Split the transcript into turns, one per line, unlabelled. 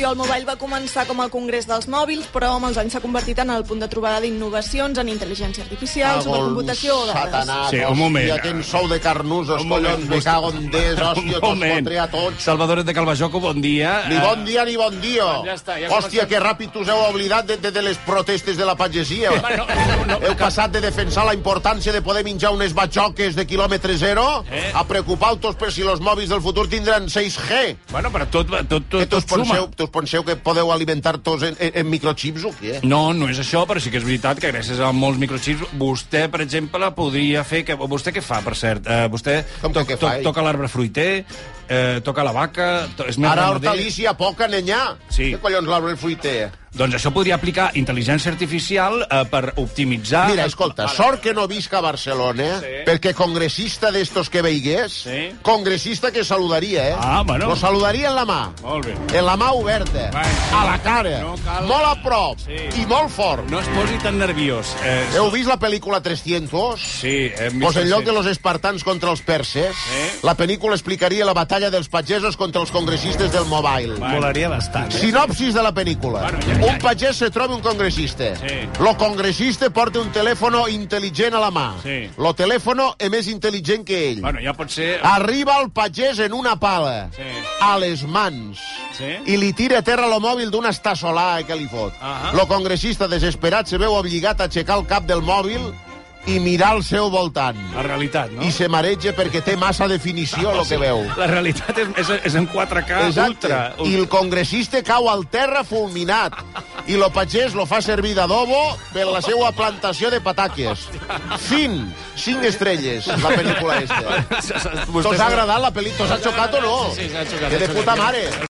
El Mobile va començar com el Congrés dels Mòbils, però amb els anys s'ha convertit en el punt de trobada d'innovacions en intel·ligència
Ah,
artificial, supercomputació o dades.
Satanàs,
Sí, un moment.
hòstia, quin sou de carnusos,
Un moment,
collons, me
vostè-
cago en Déu,
Un
hòstia, tots
moment.
fotré a tots.
Salvador de Calvajoco, bon dia. Eh,
Ni bon dia ni bon dia.
Ja està, ja
Hòstia,
comencem.
que ràpid us heu oblidat de, de, de les protestes de la pagesia.
Home, no, no, no.
Heu passat de defensar la importància de poder menjar unes batxoques de quilòmetre zero
Eh.
a preocupar-vos per si els mòbils del futur tindran 6G.
Bueno, però tot, va- tot,
Que
tot,
tots
tot suma.
penseu, tots penseu que podeu alimentar tots en, en, en microchips o què?
No, no és això, però sí que és veritat que gràcies a molts microxips, vostè, per exemple, podria fer... Que... Vostè què fa, per cert? Uh, vostè
Com que què fa, ell?
toca l'arbre fruiter, eh, toca la vaca... To... És més
Ara
ramader.
hortalícia poca, nenyà.
Sí.
Què collons l'arbre fruiter?
Doncs això podria aplicar intel·ligència artificial eh, per optimitzar...
Mira, escolta, sort que no visc a Barcelona,
eh, Sí.
perquè congressista d'estos que veigués,
Sí.
congressista que saludaria, eh?
Ah, bueno.
Lo saludaria en la mà.
Molt bé.
En la mà oberta,
Vai.
a la cara,
No cal-
molt a prop
Sí.
i molt fort.
No es posi tan nerviós. Eh,
Heu vist la pel·lícula 300?
Sí, hem vist...
Pues en lloc
sí.
de los espartans contra els perses,
Sí.
la pel·lícula explicaria la batalla dels pagesos contra els congressistes del Mobile.
Volaria bastant, eh?
Sinopsis de la pel·lícula.
Bueno, ja, ja.
Un pagès se troba un congressista.
Sí.
Lo congressista porta un telèfono intel·ligent a la mà.
Sí.
Lo telèfono és més intel·ligent que ell.
Bueno, ja pot
Ah,
ser...
Arriba el pagès en una pala,
Sí.
a les mans,
Sí.
i li tira a terra el mòbil d'una estassolada que li fot.
Ahà.
Lo congressista desesperat se veu obligat a aixecar el cap del mòbil i mirar al seu voltant.
La realitat, no? Ah,
I se mareja perquè té massa definició el que veu.
La realitat és, és, és en
Ah,
4K ultra.
I el congressista cau al terra fulminat. I lo pagès lo fa servir d'adobo per la seva plantació de pataques. Fin. Cinc estrelles, la pel·lícula esta.
Vostè
T'os ha
s'ha-
agradat la pel·lícula? T'os ha xocat o no?
Sí, sí, s'ha xocat,
Que de
s'ha xocat.
puta mare.